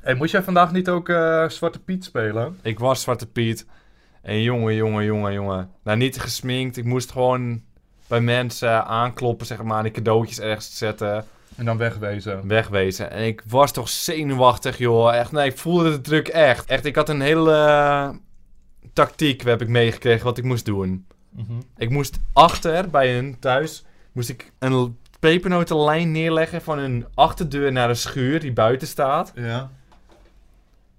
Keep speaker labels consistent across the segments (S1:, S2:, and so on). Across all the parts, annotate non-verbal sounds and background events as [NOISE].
S1: Hey, moest jij vandaag niet ook eh, Zwarte Piet spelen?
S2: Ik was Zwarte Piet. En jongen, jongen, jongen, jongen. Nou, niet gesminkt. Ik moest gewoon bij mensen aankloppen, zeg maar. En die cadeautjes ergens zetten.
S1: En dan wegwezen.
S2: Wegwezen. En ik was toch zenuwachtig, joh. Echt, nee, ik voelde de druk echt. Echt, ik had een hele eh, tactiek, heb ik meegekregen, wat ik moest doen.
S1: Mhm.
S2: Ik moest achter, bij hun thuis, moest ik een l- pepernotenlijn neerleggen van hun achterdeur naar een schuur die buiten staat.
S1: Ja.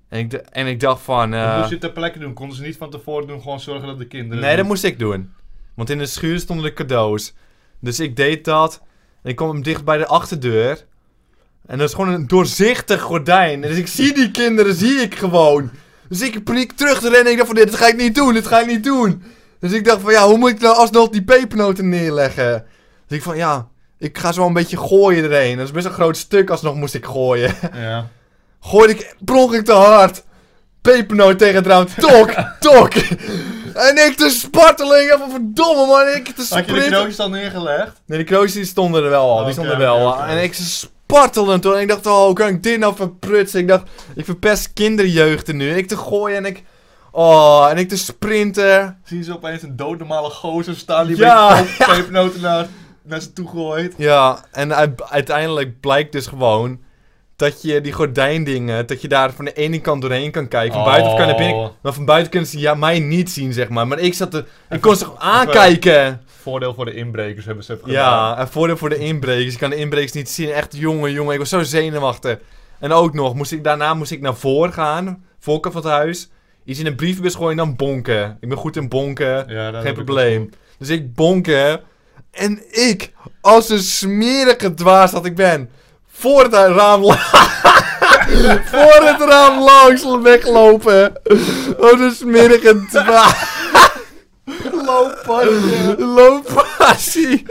S2: En ik, d- en ik dacht van... eh,
S1: Dat moest je ter plekke doen. Konden ze niet van tevoren doen, gewoon zorgen dat de kinderen...
S2: Nee, dat moest ik doen. Want in de schuur stonden de cadeaus. Dus ik deed dat. En ik kwam hem dicht bij de achterdeur. En dat is gewoon een doorzichtig gordijn. Dus ik zie die kinderen, zie ik gewoon. Dus ik in paniek terug te rennen. Ik dacht van, dit ga ik niet doen, dit ga ik niet doen. Dus ik dacht van, ja, hoe moet ik nou alsnog die pepernoten neerleggen? Dus ik van, ja, ik ga zo wel een beetje gooien erheen. Dat is best een groot stuk alsnog moest ik gooien
S1: Ja.
S2: gooide ik pronk ik te hard. Pepernoot tegen het raam. Tok,
S1: [LAUGHS]
S2: tok. En ik te sparteling. Even verdomme man. Ik te
S1: Had je de
S2: sprinten.
S1: knoopjes dan neergelegd?
S2: Nee, die kroosjes die stonden er wel al.
S1: Oké,
S2: die stonden er wel.
S1: oké, oké.
S2: En ik spartelde toen. En ik dacht, oh, hoe kan ik dit nou verprutsen? Ik dacht, ik verpest kinderjeugden nu. En ik te gooien en ik... Oh, en ik te sprinten.
S1: Zien ze opeens een doodnormale gozer staan die
S2: Ja.
S1: [LAUGHS] met een pepernoten naar, naar ze toe gooit?
S2: Ja, en u- uiteindelijk blijkt dus gewoon dat je die gordijndingen, dat je daar van de ene kant doorheen kan kijken. Van buiten of kan je naar binnen.
S1: Oh.
S2: Maar van buiten kunnen ze ja, mij niet zien, zeg maar. Maar ik zat te, ik
S1: Even-
S2: kon ze toch aankijken.
S1: Voordeel voor de inbrekers hebben ze even
S2: Ja, en voordeel voor de inbrekers. Ik kan de inbrekers niet zien. Echt jongen, jongen. Ik was zo zenuwachtig. En ook nog, moest ik, daarna moest ik naar voren gaan. Voorkant van het huis. Iets in een brievenbus gooien en dan bonken. Ik ben goed in bonken.
S1: Ja, dat
S2: Geen
S1: heb ik
S2: probleem. Dus ik bonken. En ik, als een smerige dwaas dat ik ben, voor het raam, la- [LAUGHS] voor het raam langs weglopen. Als een smerige dwaas.
S1: Looppasje.
S2: Looppassie.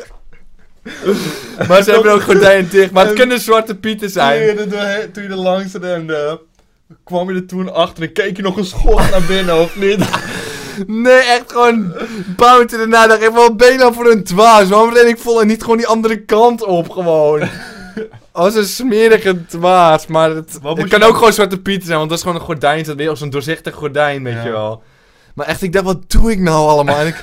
S2: maar ze hebben ook gordijnen dicht. Maar het kunnen zwarte pieten zijn.
S1: Toen je er- Toen je er langs rende, kwam je er toen achter en keek je nog een schot naar binnen, of [LAUGHS] niet?
S2: Nee, echt gewoon buiten de nadacht. Ik wel benen voor een dwaas. Waarom ren ik vol en niet gewoon die andere kant op
S1: [LAUGHS]
S2: gewoon? Als een smerige dwaas. Maar het,
S1: Wat
S2: het
S1: moet
S2: kan
S1: je-
S2: ook gewoon Zwarte Piet zijn. Want dat is gewoon een gordijn. Dat weer als een doorzichtig gordijn, weet
S1: Ja.
S2: je wel. Maar echt, ik dacht, wat doe ik nou allemaal? En
S1: [LAUGHS]
S2: ik...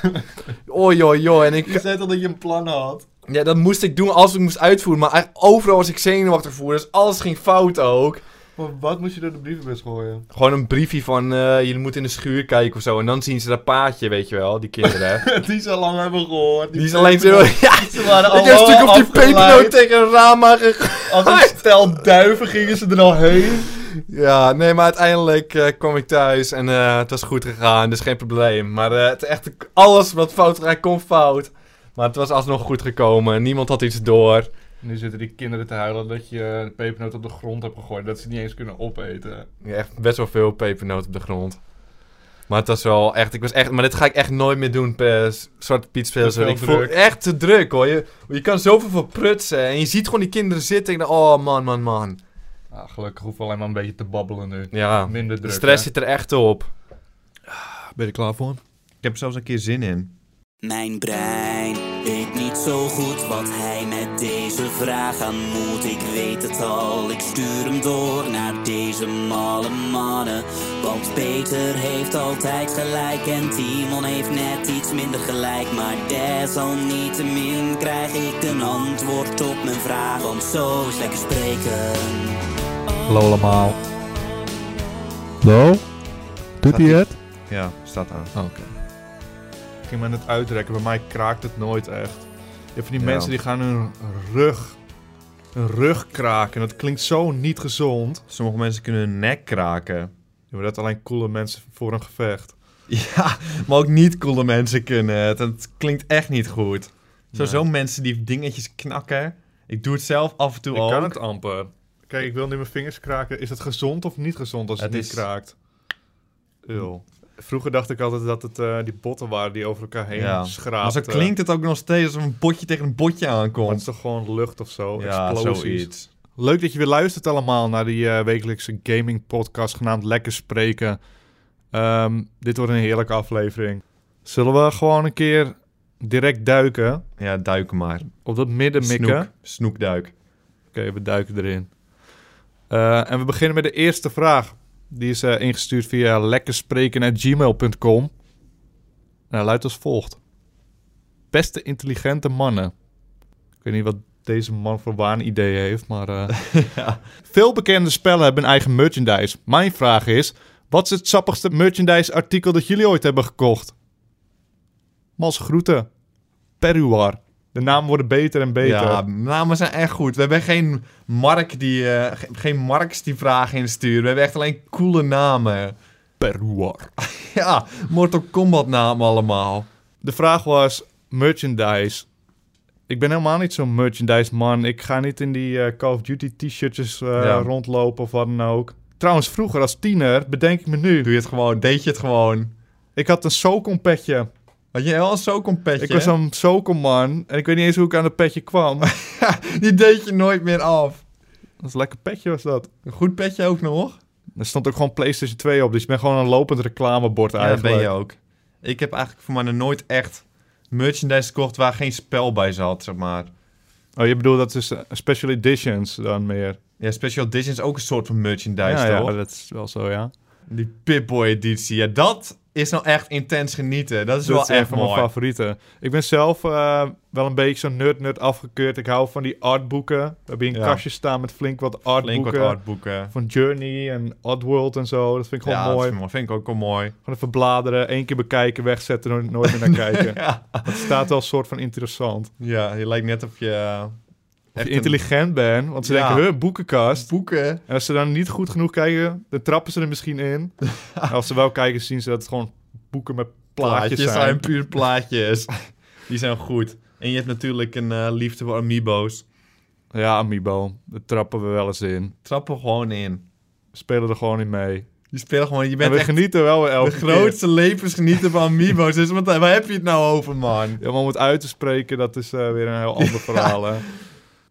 S2: Oi, oi, oi. En
S1: Je
S2: ik...
S1: zei al dat je een plan had.
S2: Ja, dat moest ik doen als ik moest uitvoeren. Maar eigenlijk overal was ik zenuwachtig voor. Dus alles ging fout ook.
S1: Maar wat moest je door de brievenbus gooien?
S2: Gewoon een briefje van, eh, jullie moeten in de schuur kijken of zo. En dan zien ze dat paadje, weet je wel, die
S1: [LAUGHS]
S2: kinderen.
S1: Die ze al lang hebben gehoord.
S2: Die is alleen zo... Ja,
S1: Ze waren
S2: Ik heb een stuk op [LAUGHS] die
S1: afgeleid.
S2: pepernoot tegen een raam aangegooid.
S1: Als een stel duiven gingen ze er al heen.
S2: Ja, nee, maar uiteindelijk eh, kwam ik thuis en eh, het was goed gegaan, dus geen probleem. Maar eh, het, echt, alles wat fout ging, kon fout. Maar het was alsnog goed gekomen, niemand had iets door.
S1: Nu zitten die kinderen te huilen dat je een pepernoot op de grond hebt gegooid. Dat ze niet eens kunnen opeten.
S2: Ja, echt best wel veel pepernoot op de grond. Maar het was wel echt, ik was echt, maar dit ga ik echt nooit meer doen per s- Zwarte Piet spelen.
S1: Te veel
S2: Ik voel
S1: druk.
S2: echt te druk hoor, je, je kan zoveel voor prutsen en je ziet gewoon die kinderen zitten. Ik denk, oh man, man, man.
S1: Ah, gelukkig hoef ik alleen maar een beetje te babbelen nu.
S2: Ja,
S1: Minder druk.
S2: de stress
S1: hè?
S2: zit er echt op.
S3: Ben je er klaar voor? Ik heb er zelfs een keer zin in.
S4: Mijn brein weet niet zo goed wat hij met deze vraag aan moet. Ik weet het al, ik stuur hem door naar deze malle mannen. Want Peter heeft altijd gelijk en Timon heeft net iets minder gelijk. Maar desalniettemin krijg ik een antwoord op mijn vraag. Want zo is lekker spreken.
S1: Hallo allemaal.
S3: Hallo? Doet hij het?
S5: Ja, staat aan.
S1: Ik ging me aan het uitrekken. Bij mij kraakt het nooit echt. Je hebt van die
S5: Ja.
S1: mensen die gaan hun rug... Hun rug kraken. Dat klinkt zo niet gezond.
S5: Sommige mensen kunnen hun nek kraken.
S1: Ja, maar dat alleen coole mensen voor een gevecht.
S5: Ja, [LAUGHS] maar ook niet coole mensen kunnen het. Dat klinkt echt niet goed. Sowieso mensen die dingetjes knakken. Ik doe het zelf af en toe
S1: Ik
S5: ook.
S1: kan het amper. Kijk, ik wil nu mijn vingers kraken. Is het gezond of niet gezond als het,
S5: Het
S1: niet
S5: is-
S1: kraakt? Eul. Vroeger dacht ik altijd dat het eh, die botten waren die over elkaar heen
S5: Ja. Maar
S1: schraapten.
S5: zo klinkt het ook nog steeds als een botje tegen een botje
S1: Maar het is
S5: aankomt.
S1: toch gewoon lucht of zo?
S5: Ja,
S1: Explosies.
S5: zoiets.
S1: Leuk dat je weer luistert allemaal naar die eh, wekelijkse gaming podcast genaamd Lekker Spreken. Ehm, dit wordt een heerlijke aflevering. Zullen we gewoon een keer direct duiken?
S5: Ja, duiken maar.
S1: Op dat midden mikken?
S5: Snoek. Snoekduik.
S1: Oké, we duiken erin. Eh, en we beginnen met de eerste vraag. Die is eh, ingestuurd via lekkerspreken.gmail.com. En hij Nou, luidt als volgt. Beste intelligente mannen. Ik weet niet wat deze man voor waanideeën heeft, maar... eh, Veel bekende spellen hebben hun eigen merchandise. Mijn vraag is, wat is het sappigste merchandise artikel dat jullie ooit hebben gekocht? Mas groeten. Peruar. De namen worden beter en beter.
S2: Ja,
S5: nou,
S2: namen zijn echt goed. We hebben geen, Mark die, eh, ge- geen Marks die vragen insturen. We hebben echt alleen coole namen.
S1: Peruar.
S5: [LAUGHS]
S2: Ja, Mortal Kombat namen allemaal.
S1: De vraag was merchandise. Ik ben helemaal niet zo'n merchandise man. Ik ga niet in die eh, Call of Duty t-shirtjes eh,
S2: Ja.
S1: rondlopen of wat dan ook. Trouwens, vroeger als tiener, bedenk ik me nu.
S2: Doe je het gewoon, deed je het gewoon.
S1: Ik had een Socon petje.
S2: Had je wel zo'n petje?
S1: Ik was zo'n Socon man. En ik weet niet eens hoe ik aan dat petje kwam.
S2: [LAUGHS]
S1: dat
S2: Die deed je nooit meer af.
S1: was een lekker petje was dat.
S2: Een goed petje ook nog?
S1: Er stond ook gewoon PlayStation 2 op. Dus ik ben gewoon een lopend reclamebord
S2: Ja, dat
S1: eigenlijk.
S2: ben je ook. Ik heb eigenlijk voor mij nog nooit echt merchandise gekocht waar geen spel bij zat, zeg maar.
S1: Oh, je bedoelt dat is eh, special editions dan meer.
S2: Ja, Special Edition is ook een soort van merchandise,
S1: Ja,
S2: toch?
S1: ja, dat is wel zo, ja.
S2: Die Pip-Boy editie. Ja, dat is nou echt intens genieten. Dat is
S1: Dat
S2: wel
S1: is echt
S2: echt
S1: van mijn
S2: mooi.
S1: favorieten. Ik ben zelf eh, wel een beetje zo'n nerd-nerd afgekeurd. Ik hou van die artboeken. We hebben hier een
S2: Ja.
S1: kastje staan met flink wat artboeken.
S2: Flink wat artboeken.
S1: Van Journey en Oddworld en zo. Dat vind ik gewoon
S2: Ja,
S1: mooi.
S2: Dat is mooi. vind ik ook wel mooi.
S1: Gewoon even bladeren, één keer bekijken, wegzetten, nooit, nooit meer
S2: [LAUGHS]
S1: naar kijken.
S2: Ja.
S1: Het staat wel een soort van interessant.
S2: ja, je lijkt net of je... eh,
S1: Als
S2: echt
S1: je
S2: een-
S1: intelligent bent, want ze
S2: Ja.
S1: denken, huh, boekenkast.
S2: Boeken.
S1: En als ze dan niet goed genoeg kijken, dan trappen ze er misschien
S2: [LAUGHS]
S1: in. en als ze wel kijken, zien ze dat het gewoon boeken met plaatjes, zijn.
S2: puur plaatjes. [LAUGHS] Die zijn goed. En je hebt natuurlijk een eh, liefde voor amiibo's.
S1: Ja, Amiibo, daar trappen we wel eens in.
S2: Trap er gewoon in.
S1: We spelen er gewoon in mee.
S2: Je speelt gewoon... Je
S1: En
S2: bent
S1: Nou, we
S2: echt
S1: genieten wel weer elke
S2: de grootste levensgenieter van amiibo's. Dus wat, waar heb je het nou over, man?
S1: keer. Ja, maar om het uit te spreken, dat is eh, weer een heel ander verhaal.
S2: [LAUGHS]
S1: Hè?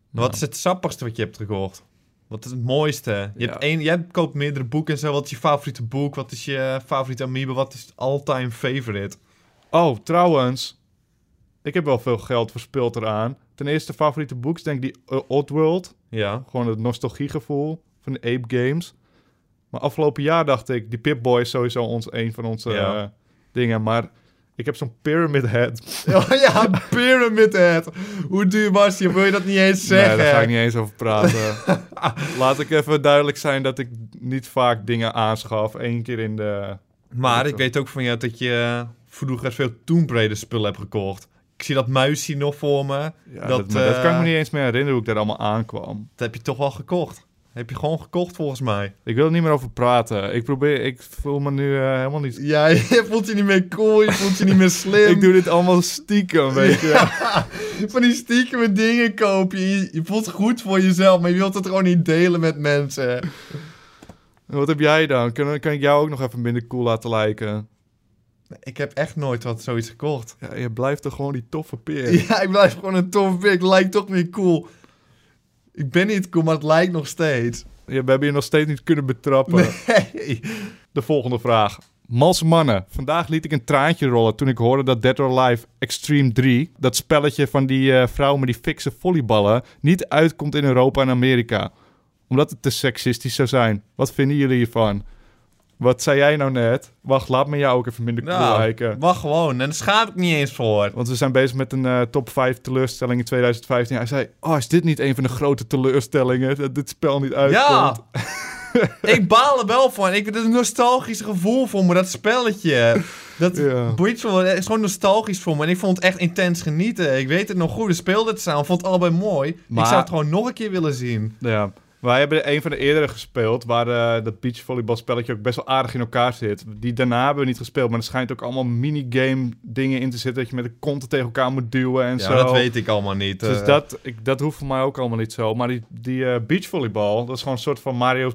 S2: Wat is het sappigste wat je hebt gekocht? Wat is het mooiste? Je
S1: Ja.
S2: hebt één, jij koopt meerdere boeken en zo. Wat is je favoriete boek? Wat is je favoriete amiibo? Wat is het all-time favorite?
S1: Oh, trouwens. Ik heb wel veel geld verspild eraan. Ten eerste favoriete boeks, denk ik die eh, Oddworld. [LAUGHS]
S2: Ja.
S1: Gewoon het nostalgiegevoel van de Ape Games. Maar afgelopen jaar dacht ik, die Pip-Boy is sowieso ons, een van onze
S2: Ja.
S1: eh, dingen. Maar ik heb zo'n Pyramid Head.
S2: Oh ja, Pyramid Head. Hoe duur was die? Wil je dat niet eens zeggen?
S1: Nee, daar ga ik niet eens over praten.
S2: [LAUGHS]
S1: Laat ik even duidelijk zijn dat ik niet vaak dingen aanschaf. Eén keer in de...
S2: Maar ik weet ook van jou dat je vroeger veel Tomb Raider spullen hebt gekocht. Ik zie dat muisje nog voor me.
S1: Ja, dat,
S2: Dat,
S1: maar dat kan ik me
S2: eh,
S1: niet eens meer herinneren hoe ik daar allemaal aankwam.
S2: Dat heb je toch wel gekocht. Heb je gewoon gekocht volgens mij.
S1: Ik wil er niet meer over praten. Ik probeer, ik voel me nu eh, helemaal niet.
S2: Ja, [LAUGHS] je voelt je niet meer cool, je voelt je niet meer [LAUGHS] slim.
S1: Ik doe dit allemaal stiekem, weet je.
S2: Van die stiekeme dingen koop je. Je- Je voelt goed voor jezelf, maar je wilt het gewoon niet delen met mensen.
S1: En Wat heb jij dan? Kan, kan ik jou ook nog even minder cool laten lijken?
S2: Ik heb echt nooit wat zoiets gekocht.
S1: Ja, je blijft toch gewoon die toffe peer.
S2: [LAUGHS] Ja, ik blijf gewoon een tof pik. Lijkt toch weer cool. Ik ben niet cool, maar het lijkt nog steeds. [LAUGHS]
S1: Ja, we hebben je nog steeds niet kunnen betrappen.
S2: Hey.
S1: De volgende vraag. Mals mannen, vandaag liet ik een traantje rollen toen ik hoorde dat Dead or Alive Extreme 3, dat spelletje van die eh, vrouw met die fikse volleyballen, niet uitkomt in Europa en Amerika. Omdat het te seksistisch zou zijn. Wat vinden jullie hiervan? Wat zei jij nou net? Wacht, laat me jou ook even minder cool
S2: Nou.
S1: lijken.
S2: mag gewoon. En daar schaam ik niet eens voor.
S1: Want we zijn bezig met een eh, top 5 teleurstelling in 2015. Hij zei, oh, is dit niet een van de grote teleurstellingen? Dat dit spel niet uitkomt.
S2: Ja! [LAUGHS] ik baal er wel van. Ik, dat is een nostalgisch gevoel voor me, dat spelletje. Dat
S1: Ja.
S2: boeit me wel. Het is gewoon nostalgisch voor me. En ik vond het echt intens genieten. Ik weet het nog goed. We speelden het samen. vond het allebei mooi.
S1: Maar-
S2: Ik zou het gewoon nog een keer willen zien.
S1: Ja, wij hebben een van de eerdere gespeeld, waar eh dat beachvolleybalspelletje ook best wel aardig in elkaar zit. Die daarna hebben we niet gespeeld, maar er schijnt ook allemaal minigame dingen in te zitten, dat je met de konten tegen elkaar moet duwen en
S2: Ja,
S1: zo.
S2: dat weet ik allemaal niet.
S1: Dus
S2: eh.
S1: dat, ik, dat hoeft voor mij ook allemaal niet zo. Maar die, die eh, beachvolleybal, dat is gewoon een soort van Mario,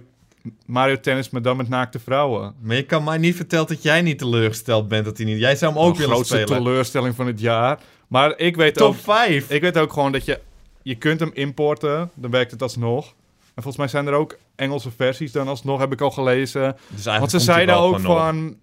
S1: Mario Tennis, maar dan met naakte vrouwen.
S2: Maar je kan mij niet vertellen dat jij niet teleurgesteld bent dat hij niet... Jij zou hem ook
S1: de
S2: willen
S1: grootste
S2: spelen.
S1: teleurstelling van het jaar. Maar ik weet ook...
S2: Top 5!
S1: Ik weet ook gewoon dat je... Je kunt hem importen, dan werkt het alsnog. En volgens mij zijn er ook Engelse versies dan alsnog, heb ik al gelezen. Want
S2: Dus eigenlijk
S1: ze
S2: komt hij
S1: zeiden
S2: wel
S1: ook
S2: gewoon op.
S1: van...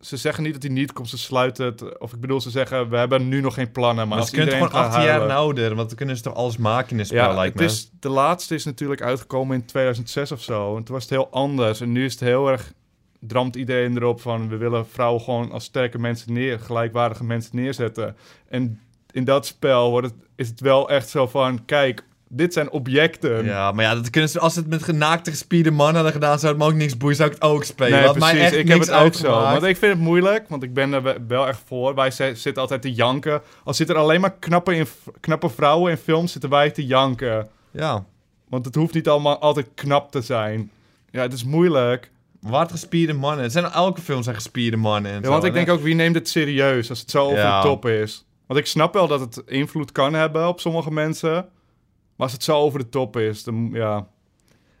S1: ze zeggen niet dat hij niet komt, ze sluiten het. Of ik bedoel, ze zeggen, we hebben nu nog geen plannen. Maar
S2: Maar
S1: als
S2: ze kunnen toch
S1: iedereen
S2: gewoon
S1: gaat
S2: 18 jaar en
S1: huilen-
S2: ouder, want dan kunnen ze toch alles maken in een spel,
S1: Ja,
S2: lijkt
S1: het
S2: me.
S1: is, de laatste is natuurlijk uitgekomen in 2006 of zo. En toen was het heel anders. En nu is het heel erg... Dramt iedereen erop van... We willen vrouwen gewoon als sterke mensen neer... Gelijkwaardige mensen neerzetten. En in dat spel wordt het, is het wel echt zo van... Kijk, dit zijn objecten.
S2: Ja, maar ja, dat kunnen ze, als ze het met genaakte gespierde mannen hadden gedaan, zou het me ook niks boeien, zou ik het ook spelen.
S1: Nee,
S2: Had mij
S1: precies.
S2: echt
S1: Ik heb
S2: niks
S1: het ook zo.
S2: uitgemaakt.
S1: Want ik vind het moeilijk, want ik ben er we- wel echt voor. Wij zi- zitten altijd te janken. Als zitten er alleen maar knappe, in, knappe vrouwen in films, zitten wij te janken.
S2: Ja,
S1: Want het hoeft niet allemaal altijd knap te zijn. Ja, het is moeilijk.
S2: waard gespierde mannen. Het zijn elke film zijn gespierde mannen. En
S1: Ja,
S2: zo,
S1: want ik
S2: hè?
S1: denk ook, wie neemt het serieus als het zo over
S2: Ja.
S1: de top is? Want ik snap wel dat het invloed kan hebben op sommige mensen. Maar als het zo over de top is, dan ja.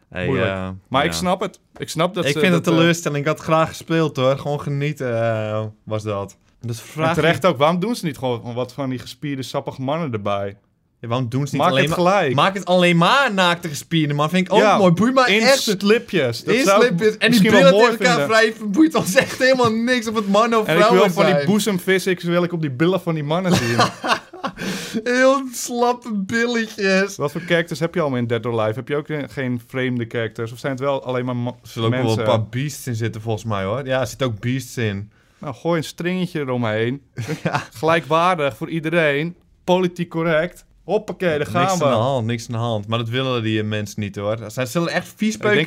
S2: Hey,
S1: moeilijk.
S2: eh,
S1: Maar ik
S2: ja.
S1: snap het. Ik snap dat
S2: ik
S1: ze...
S2: vind het
S1: dat, eh,
S2: teleurstelling. Ik had graag gespeeld hoor. Gewoon genieten eh, was dat. Dus
S1: en
S2: vraag
S1: terecht ook, waarom doen ze niet gewoon wat van die gespierde, sappige mannen erbij?
S2: je- waarom doen ze niet
S1: Maak
S2: alleen
S1: het
S2: maar...
S1: gelijk.
S2: Maak het alleen maar naakte gespierde man. Vind ik ook
S1: Ja,
S2: Oh, mooi. Boeit maar
S1: in
S2: echt.
S1: slipjes. Dat
S2: in
S1: zou ik
S2: slipjes. En die
S1: misschien wel
S2: billen tegen
S1: mooi
S2: elkaar
S1: vinden.
S2: vrij boeit ons echt helemaal niks of het man of
S1: En ik wil
S2: vrouwen
S1: van
S2: zijn.
S1: die boezemphysics wil ik op die billen van die mannen
S2: [LAUGHS]
S1: zien.
S2: Heel slappe billetjes.
S1: Wat voor characters heb je allemaal in Dead or Alive? Heb je ook eh, geen vreemde characters? Of zijn het wel alleen maar ma-
S2: Er zullen ook
S1: mensen?
S2: wel een paar beasts in zitten volgens mij hoor. Ja, er zitten ook beasts in.
S1: Nou, gooi een stringetje
S2: [LAUGHS]
S1: eromheen. Gelijkwaardig voor iedereen. Politiek correct. Hoppakee, daar gaan
S2: niks
S1: we.
S2: aan de hand, niks aan de hand. Maar dat willen die eh, mensen niet hoor. Zij zullen echt
S1: Ik
S2: viespeuken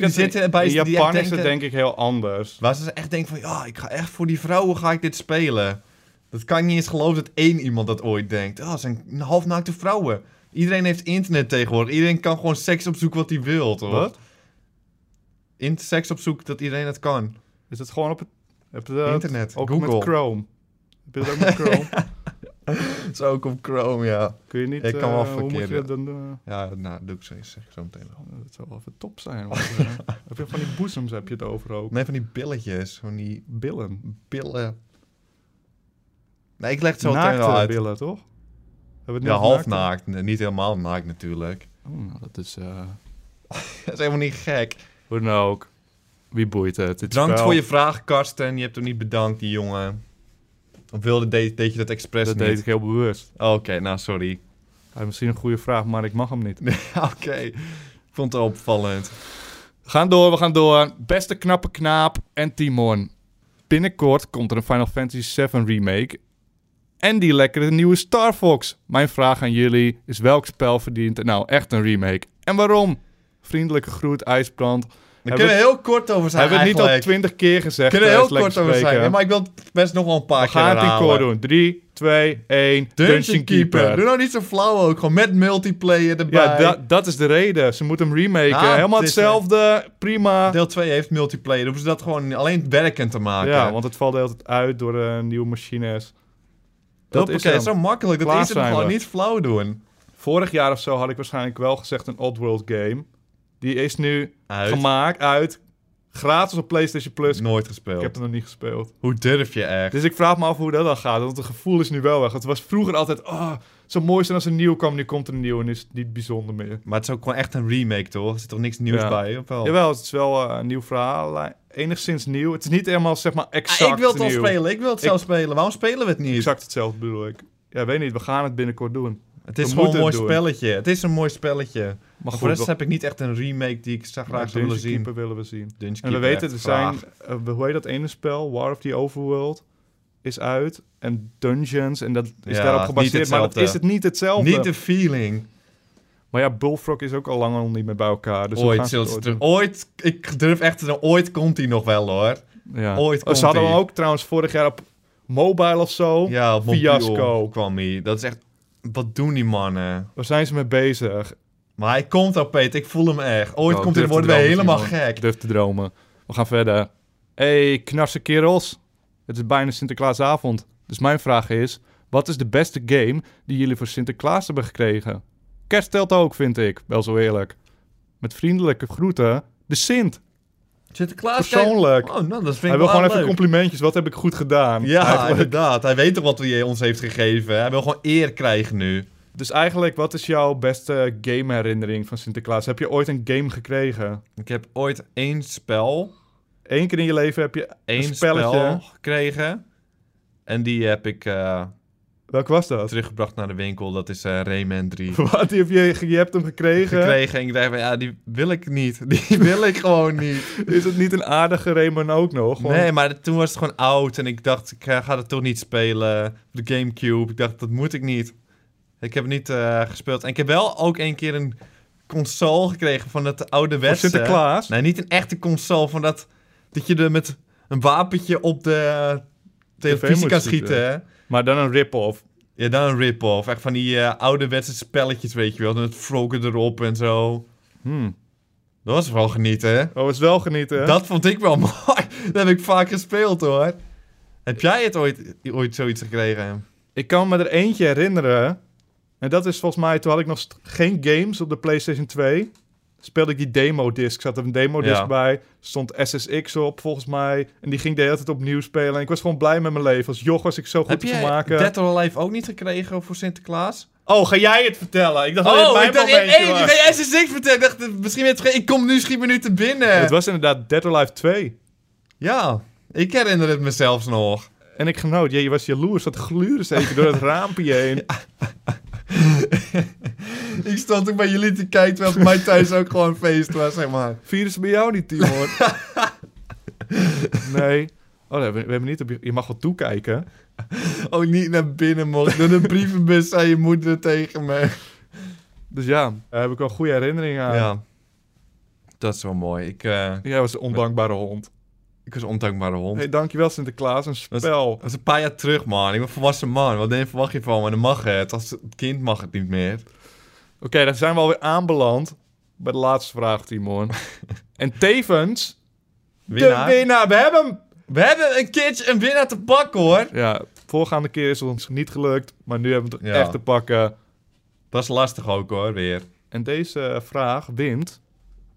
S1: denk
S2: die
S1: dat
S2: zitten
S1: in,
S2: bij
S1: in
S2: ze die echt
S1: Japan is het
S2: denken-
S1: denk ik heel anders.
S2: Waar ze echt denken van, ja, ik ga echt voor die vrouwen ga ik dit spelen. Dat kan ik niet eens geloven dat één iemand dat ooit denkt. Ah, het zijn halfnaakte vrouwen. Iedereen heeft internet tegenwoordig. Iedereen kan gewoon seks opzoeken wat hij wil, hoor.
S1: Wat?
S2: In seks opzoeken dat iedereen het kan.
S1: Is het gewoon op het... Heb je dat
S2: Internet,
S1: ook
S2: Google.
S1: met Chrome. Heb je dat ook
S2: [LAUGHS]
S1: met Chrome?
S2: Dat is ook op Chrome, ja.
S1: Kun je niet...
S2: Ik kan wel
S1: eh, hoe moet
S2: verkeerd,
S1: je dat dan doen?
S2: Ja, nou, doe ik zo, zeg ik zo meteen wel.
S1: Dat zou wel even top zijn. want, eh,
S2: [LAUGHS]
S1: heb je van die boezems heb je het over ook.
S2: Nee, van die billetjes. Van die
S1: Billen.
S2: billen. Nee, ik leg het zo meteen wel
S1: Naakte
S2: uit.
S1: billen, toch? Hebben we het
S2: Ja,
S1: niet over naakte?
S2: halfnaakt. Nee, Niet helemaal naakt natuurlijk. [LAUGHS]
S1: Oh, nou, dat is... eh,
S2: Dat is helemaal niet gek.
S1: Hoe dan ook. Wie boeit het? Dit
S2: Bedankt
S1: spel,
S2: voor je vraag, Karsten. Je hebt hem niet bedankt, die jongen. Of wilde deed, deed je dat expres
S1: Dat
S2: niet?
S1: deed ik heel bewust.
S2: Oké, nou sorry. [LAUGHS]
S1: Hij heeft misschien een goede vraag, maar ik mag hem niet.
S2: Oké, ik vond het opvallend.
S1: We gaan door, we gaan door. Beste knappe knaap en Timon. Binnenkort komt er een Final Fantasy VII remake. En die lekkere nieuwe Star Fox. Mijn vraag aan jullie is welk spel verdient nou echt een remake? En waarom? Vriendelijke groet, IJsbrand.
S2: Daar kunnen we heel kort over zijn
S1: Hebben we het niet al
S2: eigenlijk.
S1: twintig keer gezegd?
S2: kunnen we heel
S1: tijdens
S2: kort
S1: Lekker
S2: over zijn.
S1: Spreken?
S2: Nee, maar ik wil het best nog wel een paar
S1: we
S2: keer
S1: gaan het in
S2: herhalen.
S1: koor doen. 3, 2, 1.
S2: Dungeon, Keeper. Doe nou niet zo flauw ook. Gewoon met multiplayer erbij.
S1: Ja, da- dat is de reden. Ze moeten hem remaken.
S2: Ah,
S1: Helemaal
S2: het is, eh,
S1: hetzelfde. Prima.
S2: Deel 2 heeft multiplayer. Dan hoeven ze dat gewoon alleen werkend te maken.
S1: Ja, want het valt de hele tijd uit door eh, nieuwe machines.
S2: dat
S1: Dat
S2: is
S1: is hem.
S2: zo makkelijk. Dat
S1: Klaar
S2: is het
S1: zijn
S2: gewoon
S1: we.
S2: niet flauw doen.
S1: Vorig jaar of zo had ik waarschijnlijk wel gezegd een Oddworld game. Die is nu
S2: Uit. Mm,
S1: gemaakt uit. Gratis op PlayStation Plus.
S2: Nooit
S1: Dus- Ik
S2: gespeeld.
S1: heb het nog niet gespeeld.
S2: Hoe durf je echt?
S1: Dus ik vraag me af hoe dat dan gaat. Want het gevoel is nu wel weg. Het was vroeger altijd. Oh, zo mooi zijn als er nieuw kwam. Nu komt er een nieuw en is het niet bijzonder meer.
S2: Maar het is ook gewoon echt een remake, toch? Er zit toch niks nieuws
S1: Ja.
S2: bij, of wel?
S1: Jawel, het is wel eh, een nieuw verhaal. eh, Enigszins nieuw. Het is niet helemaal zeg maar exact.
S2: Ah, ik wil het al
S1: nieuw.
S2: spelen, ik wil het
S1: Ik-
S2: zelf spelen. Waarom spelen we het niet?
S1: Exact hetzelfde bedoel ik. Ja, weet niet. We gaan het binnenkort doen.
S2: Het is
S1: We
S2: gewoon een mooi
S1: moeten het doen.
S2: spelletje. Het is een mooi spelletje.
S1: Maar
S2: Maar voor de rest
S1: we-
S2: heb ik niet echt een remake die ik zou graag zou
S1: Dungeon
S2: willen zien.
S1: Keeper willen we zien.
S2: Dungeon
S1: En we
S2: Keeper
S1: weten,
S2: echt
S1: er
S2: graag.
S1: zijn... eh, hoe heet dat ene spel? War of the Overworld is uit. En Dungeons. En dat is
S2: Ja,
S1: daarop
S2: niet
S1: gebaseerd. Maar dat
S2: hetzelfde.
S1: is het niet hetzelfde.
S2: Niet de feeling.
S1: Dus Maar ja, Bullfrog is ook al lang al niet meer bij elkaar. Dus we gaan
S2: ooit
S1: ze
S2: zullen ze
S1: het
S2: terug.
S1: ooit
S2: Ooit, ik durf echt te zeggen, ooit komt die nog wel hoor.
S1: doen. Ja.
S2: ooit
S1: Oh,
S2: komt
S1: Ze hadden
S2: die.
S1: hem ook trouwens vorig jaar op mobile of zo.
S2: Ja, op mobiel
S1: Fiasco.
S2: kwam hij. Dat is echt... Wat doen die mannen?
S1: Waar zijn ze mee bezig?
S2: Maar hij komt al, Peter. Ik voel hem echt. Ooit
S1: Oh,
S2: komt hij,
S1: durf te
S2: worden we
S1: dromen,
S2: helemaal
S1: Simon.
S2: gek.
S1: Ik durf te dromen. We gaan verder. Hey, knarse kerels. Het is bijna Sinterklaasavond. Dus mijn vraag is: wat is de beste game die jullie voor Sinterklaas hebben gekregen? Kerst telt ook, vind ik. Wel zo eerlijk. Met vriendelijke groeten, de Sint.
S2: Sinterklaas kijkt-
S1: Persoonlijk.
S2: Oh, nou, dat vind ik
S1: Hij wil
S2: wel
S1: gewoon even
S2: leuk.
S1: complimentjes. Wat heb ik goed gedaan?
S2: Ja,
S1: Eigenlijk.
S2: inderdaad. Hij weet toch wat hij eh, ons heeft gegeven. Hij wil gewoon eer krijgen nu.
S1: Dus eigenlijk, wat is jouw beste gameherinnering van Sinterklaas? Heb je ooit een game gekregen?
S2: Ik heb ooit één spel.
S1: Eén keer in je leven heb je
S2: Eén
S1: een spelletje.
S2: spel gekregen. En die heb ik eh,
S1: Welk was dat?
S2: teruggebracht naar de winkel. Dat is eh, Rayman 3.
S1: [LAUGHS] Wat? Die heb je, je hebt hem gekregen.
S2: Gekregen. En ik dacht van, ja, die wil ik niet. [LAUGHS] Die wil ik gewoon niet.
S1: Is het niet een aardige Rayman ook nog? Want-
S2: Nee, maar toen was het gewoon oud. En ik dacht, ik eh, ga dat toch niet spelen. De Gamecube. Ik dacht, dat moet ik niet. Ik heb het niet eh, gespeeld. En ik heb wel ook een keer een console gekregen van dat oude
S1: Voor
S2: wedstrijd.
S1: Sinterklaas?
S2: Nee, niet een echte console van dat, dat je er met een wapentje op de eh, televisie
S1: moet
S2: kan
S1: schieten.
S2: schieten. hè?
S1: Maar dan een rip-off.
S2: Ja, dan een rip-off. Echt van die eh, oude ouderwetse spelletjes, weet je wel. Met vroken erop en zo.
S1: Hmm.
S2: Dat was wel genieten, hè?
S1: Oh, is wel genieten. hè?
S2: Dat vond ik wel [LAUGHS] mooi. Dat heb ik vaak gespeeld, hoor. Heb jij het ooit, ooit zoiets gekregen?
S1: Ik kan me er eentje herinneren. En dat is volgens mij, toen had ik nog st- geen games op de PlayStation 2. Speelde ik die demo-disc. Zat er een demo-disc
S2: Ja.
S1: bij. Stond SSX op, volgens mij. En die ging de hele tijd opnieuw spelen. En ik was gewoon blij met mijn leven. Als joch was ik zo goed
S2: heb
S1: te
S2: jij
S1: maken.
S2: Dead or Alive ook niet gekregen voor Sinterklaas?
S1: Oh, ga jij het vertellen? Ik dacht dat
S2: Oh,
S1: het mijn
S2: ik dacht, hey,
S1: momentje
S2: hey,
S1: was.
S2: ik ga jij SSX vertellen. Ik dacht, eh, misschien ben je het vergeten. Ik kom nu, schiet me nu te binnen.
S1: Het was inderdaad Dead or Alive 2.
S2: Ja, ik herinner het mezelf nog.
S1: En ik genoot. Je, je was jaloers. Dat gluurde ze even door het raampje heen.
S2: Ik stond ook bij jullie te kijken, terwijl het bij mij thuis ook gewoon feest was, zeg maar.
S1: Virus bij jou niet, Timon.
S2: [LAUGHS]
S1: nee. Oh, nee, we, we hebben niet op je... Je mag wel toekijken.
S2: Ook Oh, niet naar binnen mocht. Door de brievenbus zei je moeder tegen me.
S1: Dus ja, daar heb ik wel goede herinneringen aan.
S2: Ja. Dat is wel mooi. Ik, eh,
S1: Jij was een ondankbare hond.
S2: ik was een ondankbare hond.
S1: Hey, dankjewel Sinterklaas, een
S2: Dat is-
S1: spel.
S2: Dat is een paar jaar terug, man. Ik ben een volwassen man. Wat denk je, verwacht je van me? Dan mag het. Als het kind mag het niet meer.
S1: Oké, dan zijn we alweer aanbeland bij de laatste vraag,
S2: [LAUGHS]
S1: Timon. en tevens,
S2: Winnaar.
S1: de winnaar. We hebben hem!
S2: We hebben een keertje een winnaar te pakken, hoor.
S1: Ja, voorgaande keer is het ons niet gelukt, maar nu hebben we het
S2: Ja.
S1: echt te pakken.
S2: Dat is lastig ook, hoor, weer.
S1: En deze vraag wint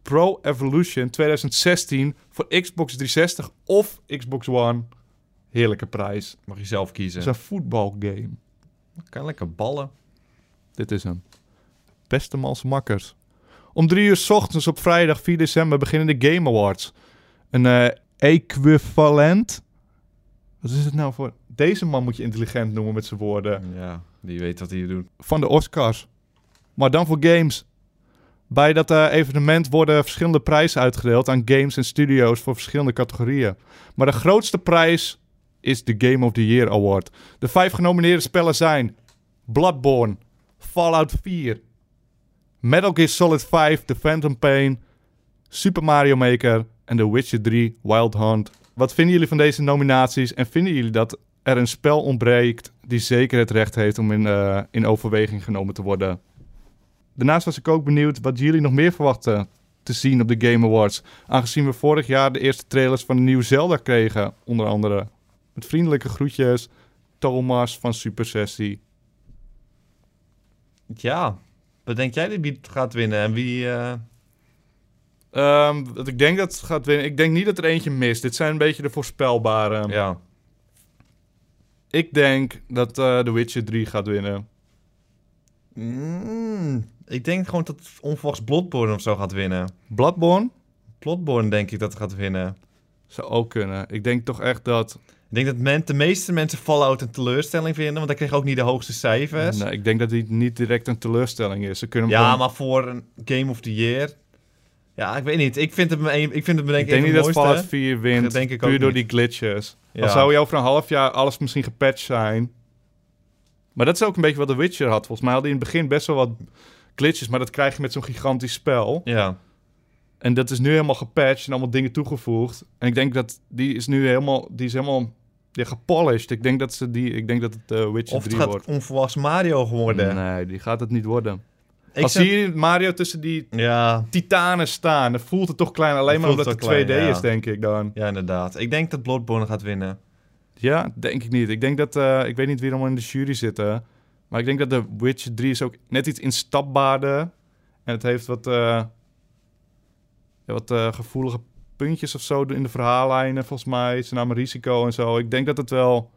S1: Pro Evolution 2016 voor Xbox 360 of Xbox One. Heerlijke prijs. Het
S2: Mag je zelf kiezen.
S1: is een voetbalgame.
S2: Kan lekker ballen.
S1: Dit is hem. Beste mals makkers. Om drie uur 's ochtends op vrijdag 4 december beginnen de Game Awards. Een eh, equivalent. Wat is het nou voor. Deze man moet je intelligent noemen met zijn woorden.
S2: Ja, die weet wat hij doet.
S1: Van de Oscars. Maar dan voor games. Bij dat eh, evenement worden verschillende prijzen uitgedeeld aan games en studio's voor verschillende categorieën. Maar de grootste prijs is de Game of the Year Award. De vijf genomineerde spellen zijn Bloodborne, Fallout 4, Metal Gear Solid 5, The Phantom Pain, Super Mario Maker en The Witcher 3 Wild Hunt. Wat vinden jullie van deze nominaties en vinden jullie dat er een spel ontbreekt die zeker het recht heeft om in, eh, in overweging genomen te worden? Daarnaast was ik ook benieuwd wat jullie nog meer verwachten te zien op de Game Awards, aangezien we vorig jaar de eerste trailers van de nieuwe Zelda kregen, onder andere. Met vriendelijke groetjes, Thomas van Super Sessie.
S2: Ja. Wat denk jij dat wie het gaat winnen? En wie... eh,
S1: Ehm, wat ik denk dat het gaat winnen. Ik denk niet dat er eentje mist. Dit zijn een beetje de voorspelbare.
S2: Ja.
S1: Ik denk dat eh The Witcher 3 gaat winnen.
S2: Mm, ik denk gewoon dat onverwachts Bloodborne of zo gaat winnen.
S1: Bloodborne
S2: Bloodborne denk ik dat het gaat winnen.
S1: zou ook kunnen. Ik denk toch echt dat.
S2: Ik denk dat men, de meeste mensen Fallout een teleurstelling vinden, want hij kreeg ook niet de hoogste cijfers.
S1: Nee, ik denk dat die niet direct een teleurstelling is. Ze kunnen hem
S2: ja,
S1: gewoon-
S2: maar voor een Game of the Year... Ja, ik weet niet. Ik vind het, me een- ik vind het me denk
S1: Ik
S2: ik een
S1: denk
S2: van
S1: niet
S2: de
S1: dat Fallout
S2: mooiste.
S1: 4 wint.
S2: Dat denk ik
S1: puur
S2: ook
S1: door
S2: niet.
S1: die glitches.
S2: Ja.
S1: Dan zou je over een half jaar alles misschien gepatcht zijn. Maar dat is ook een beetje wat The Witcher had. Volgens mij had hij in het begin best wel wat glitches. Maar dat krijg je met zo'n gigantisch spel.
S2: Ja.
S1: En dat is nu helemaal gepatcht en allemaal dingen toegevoegd. En ik denk dat die is nu helemaal, die is helemaal ja, gepolished. Ik denk dat, ze die, ik denk dat het eh, Witcher
S2: Of het
S1: 3
S2: gaat
S1: wordt.
S2: onverwachts Mario worden.
S1: Nee, die gaat het niet worden.
S2: Ik
S1: Als
S2: zeg-
S1: zie je Mario tussen die
S2: Ja,
S1: titanen staan, dan voelt het toch klein. Alleen
S2: Dan
S1: maar omdat
S2: voelt
S1: het
S2: het wel
S1: 2D
S2: klein, ja.
S1: is, denk ik dan.
S2: ja, inderdaad. Ik denk dat Bloodborne gaat winnen.
S1: Ja, denk ik niet. Ik denk dat, eh, ik weet niet wie er allemaal in de jury zitten. Maar ik denk dat de Witcher 3 is ook net iets instapbaarder. En het heeft wat, eh, ja, wat eh, gevoelige puntjes of zo in de verhaallijnen, volgens mij. Ze namen risico en zo. Ik denk dat het wel,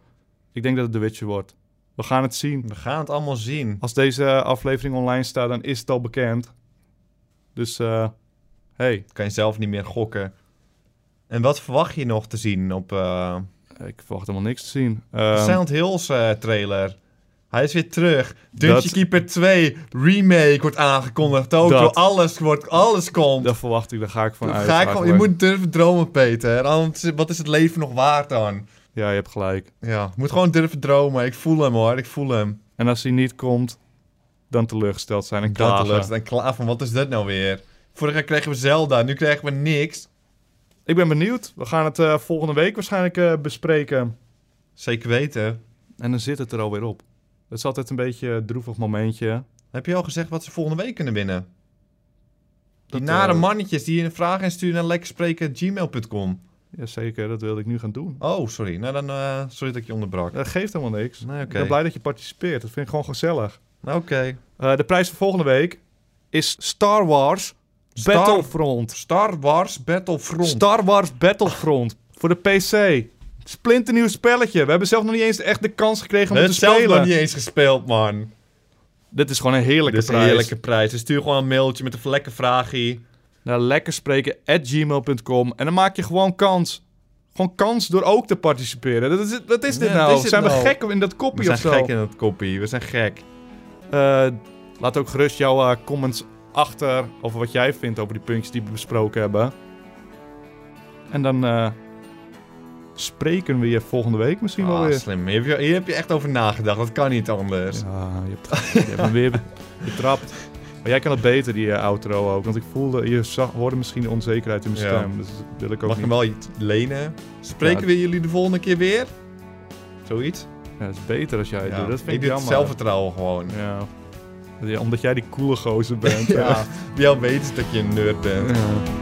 S1: ik denk dat het de Witcher wordt. We gaan het zien.
S2: We gaan het allemaal zien.
S1: Als deze aflevering online staat, dan is het al bekend. Dus, eh hey,
S2: Kan je zelf niet meer gokken. En wat verwacht je nog te zien op eh
S1: Ik verwacht helemaal niks te zien. Ehm,
S2: Silent Hills eh, trailer? Hij is weer terug. Dungeon
S1: Dat-
S2: Keeper 2 remake wordt aangekondigd. Ook
S1: Dat-
S2: door alles, wordt, alles komt.
S1: dat verwacht ik, daar ga ik van
S2: Dat
S1: uit.
S2: ga ik gewoon, je
S1: eigenlijk.
S2: moet durven dromen, Peter. Anders, wat is het leven nog waard dan?
S1: Ja, je hebt gelijk.
S2: Ja, je moet gewoon durven dromen. Ik voel hem hoor, ik voel hem.
S1: En als hij niet komt, dan teleurgesteld zijn en
S2: Dat
S1: klagen.
S2: lukt. En klaar van, wat is dat nou weer? Vorig jaar kregen we Zelda, nu krijgen we niks.
S1: Ik ben benieuwd. We gaan het eh, volgende week waarschijnlijk eh, bespreken.
S2: Zeker weten.
S1: En dan zit het er alweer op. Dat is altijd een beetje een droevig momentje.
S2: Heb je al gezegd wat ze volgende week kunnen winnen? Die
S1: Dat,
S2: nare
S1: eh,
S2: mannetjes die een vraag insturen naar lekkerspreken.gmail.com.
S1: Jazeker, dat wilde ik nu gaan doen.
S2: Oh, sorry. Nou dan, eh, sorry dat ik je onderbrak.
S1: Dat geeft helemaal niks.
S2: Nee,
S1: Ik
S2: oké.
S1: ben blij dat je participeert. Dat vind ik gewoon gezellig.
S2: Nou, Oké.
S1: Eh, de prijs van volgende week is Star Wars
S2: Star-
S1: Battlefront.
S2: Star Wars Battlefront.
S1: Star Wars Battlefront voor de PC. Splinternieuw spelletje. We hebben zelf nog niet eens echt de kans gekregen
S2: we
S1: om
S2: hebben
S1: het
S2: het
S1: te
S2: zelf nog
S1: spelen.
S2: niet eens gespeeld, man.
S1: Dit is gewoon een heerlijke
S2: Dit is een
S1: prijs.
S2: heerlijke prijs. Dus stuur gewoon een mailtje met een lekker vraagie.
S1: Naar lekkerspreken@gmail.com en dan maak je gewoon kans. Gewoon kans door ook te participeren. Dat is, wat is dit
S2: Ja,
S1: nou?
S2: wat is dit
S1: zijn
S2: nou?
S1: we gek in dat
S2: We
S1: kopje
S2: zijn
S1: of zo?
S2: gek in dat koppie. We zijn gek.
S1: Eh, laat ook gerust jouw eh, comments achter over wat jij vindt over die puntjes die we besproken hebben. En dan eh, spreken we je volgende week misschien wel
S2: Ah,
S1: weer.
S2: slim. Hier heb, je, hier heb je echt over nagedacht. Dat kan niet anders.
S1: Ja, je hebt, je hebt hem weer be- betrapt. Maar jij kan het beter, die eh, outro ook. Want ik voelde, je zag, hoorde misschien de onzekerheid in mijn
S2: Ja.
S1: stem. Dus dat wil ik ook
S2: Mag ik
S1: niet.
S2: hem wel iets lenen? Spreken
S1: Ja.
S2: we jullie de volgende keer weer? Zoiets?
S1: Ja, dat is beter als jij het
S2: Ja.
S1: doet. Dat vind ik,
S2: doe het
S1: jammer.
S2: zelfvertrouwen gewoon.
S1: Ja.
S2: [LAUGHS]
S1: Ja, Omdat jij die coole gozer bent.
S2: Ja. Die al weet dat je een nerd bent.
S1: ja.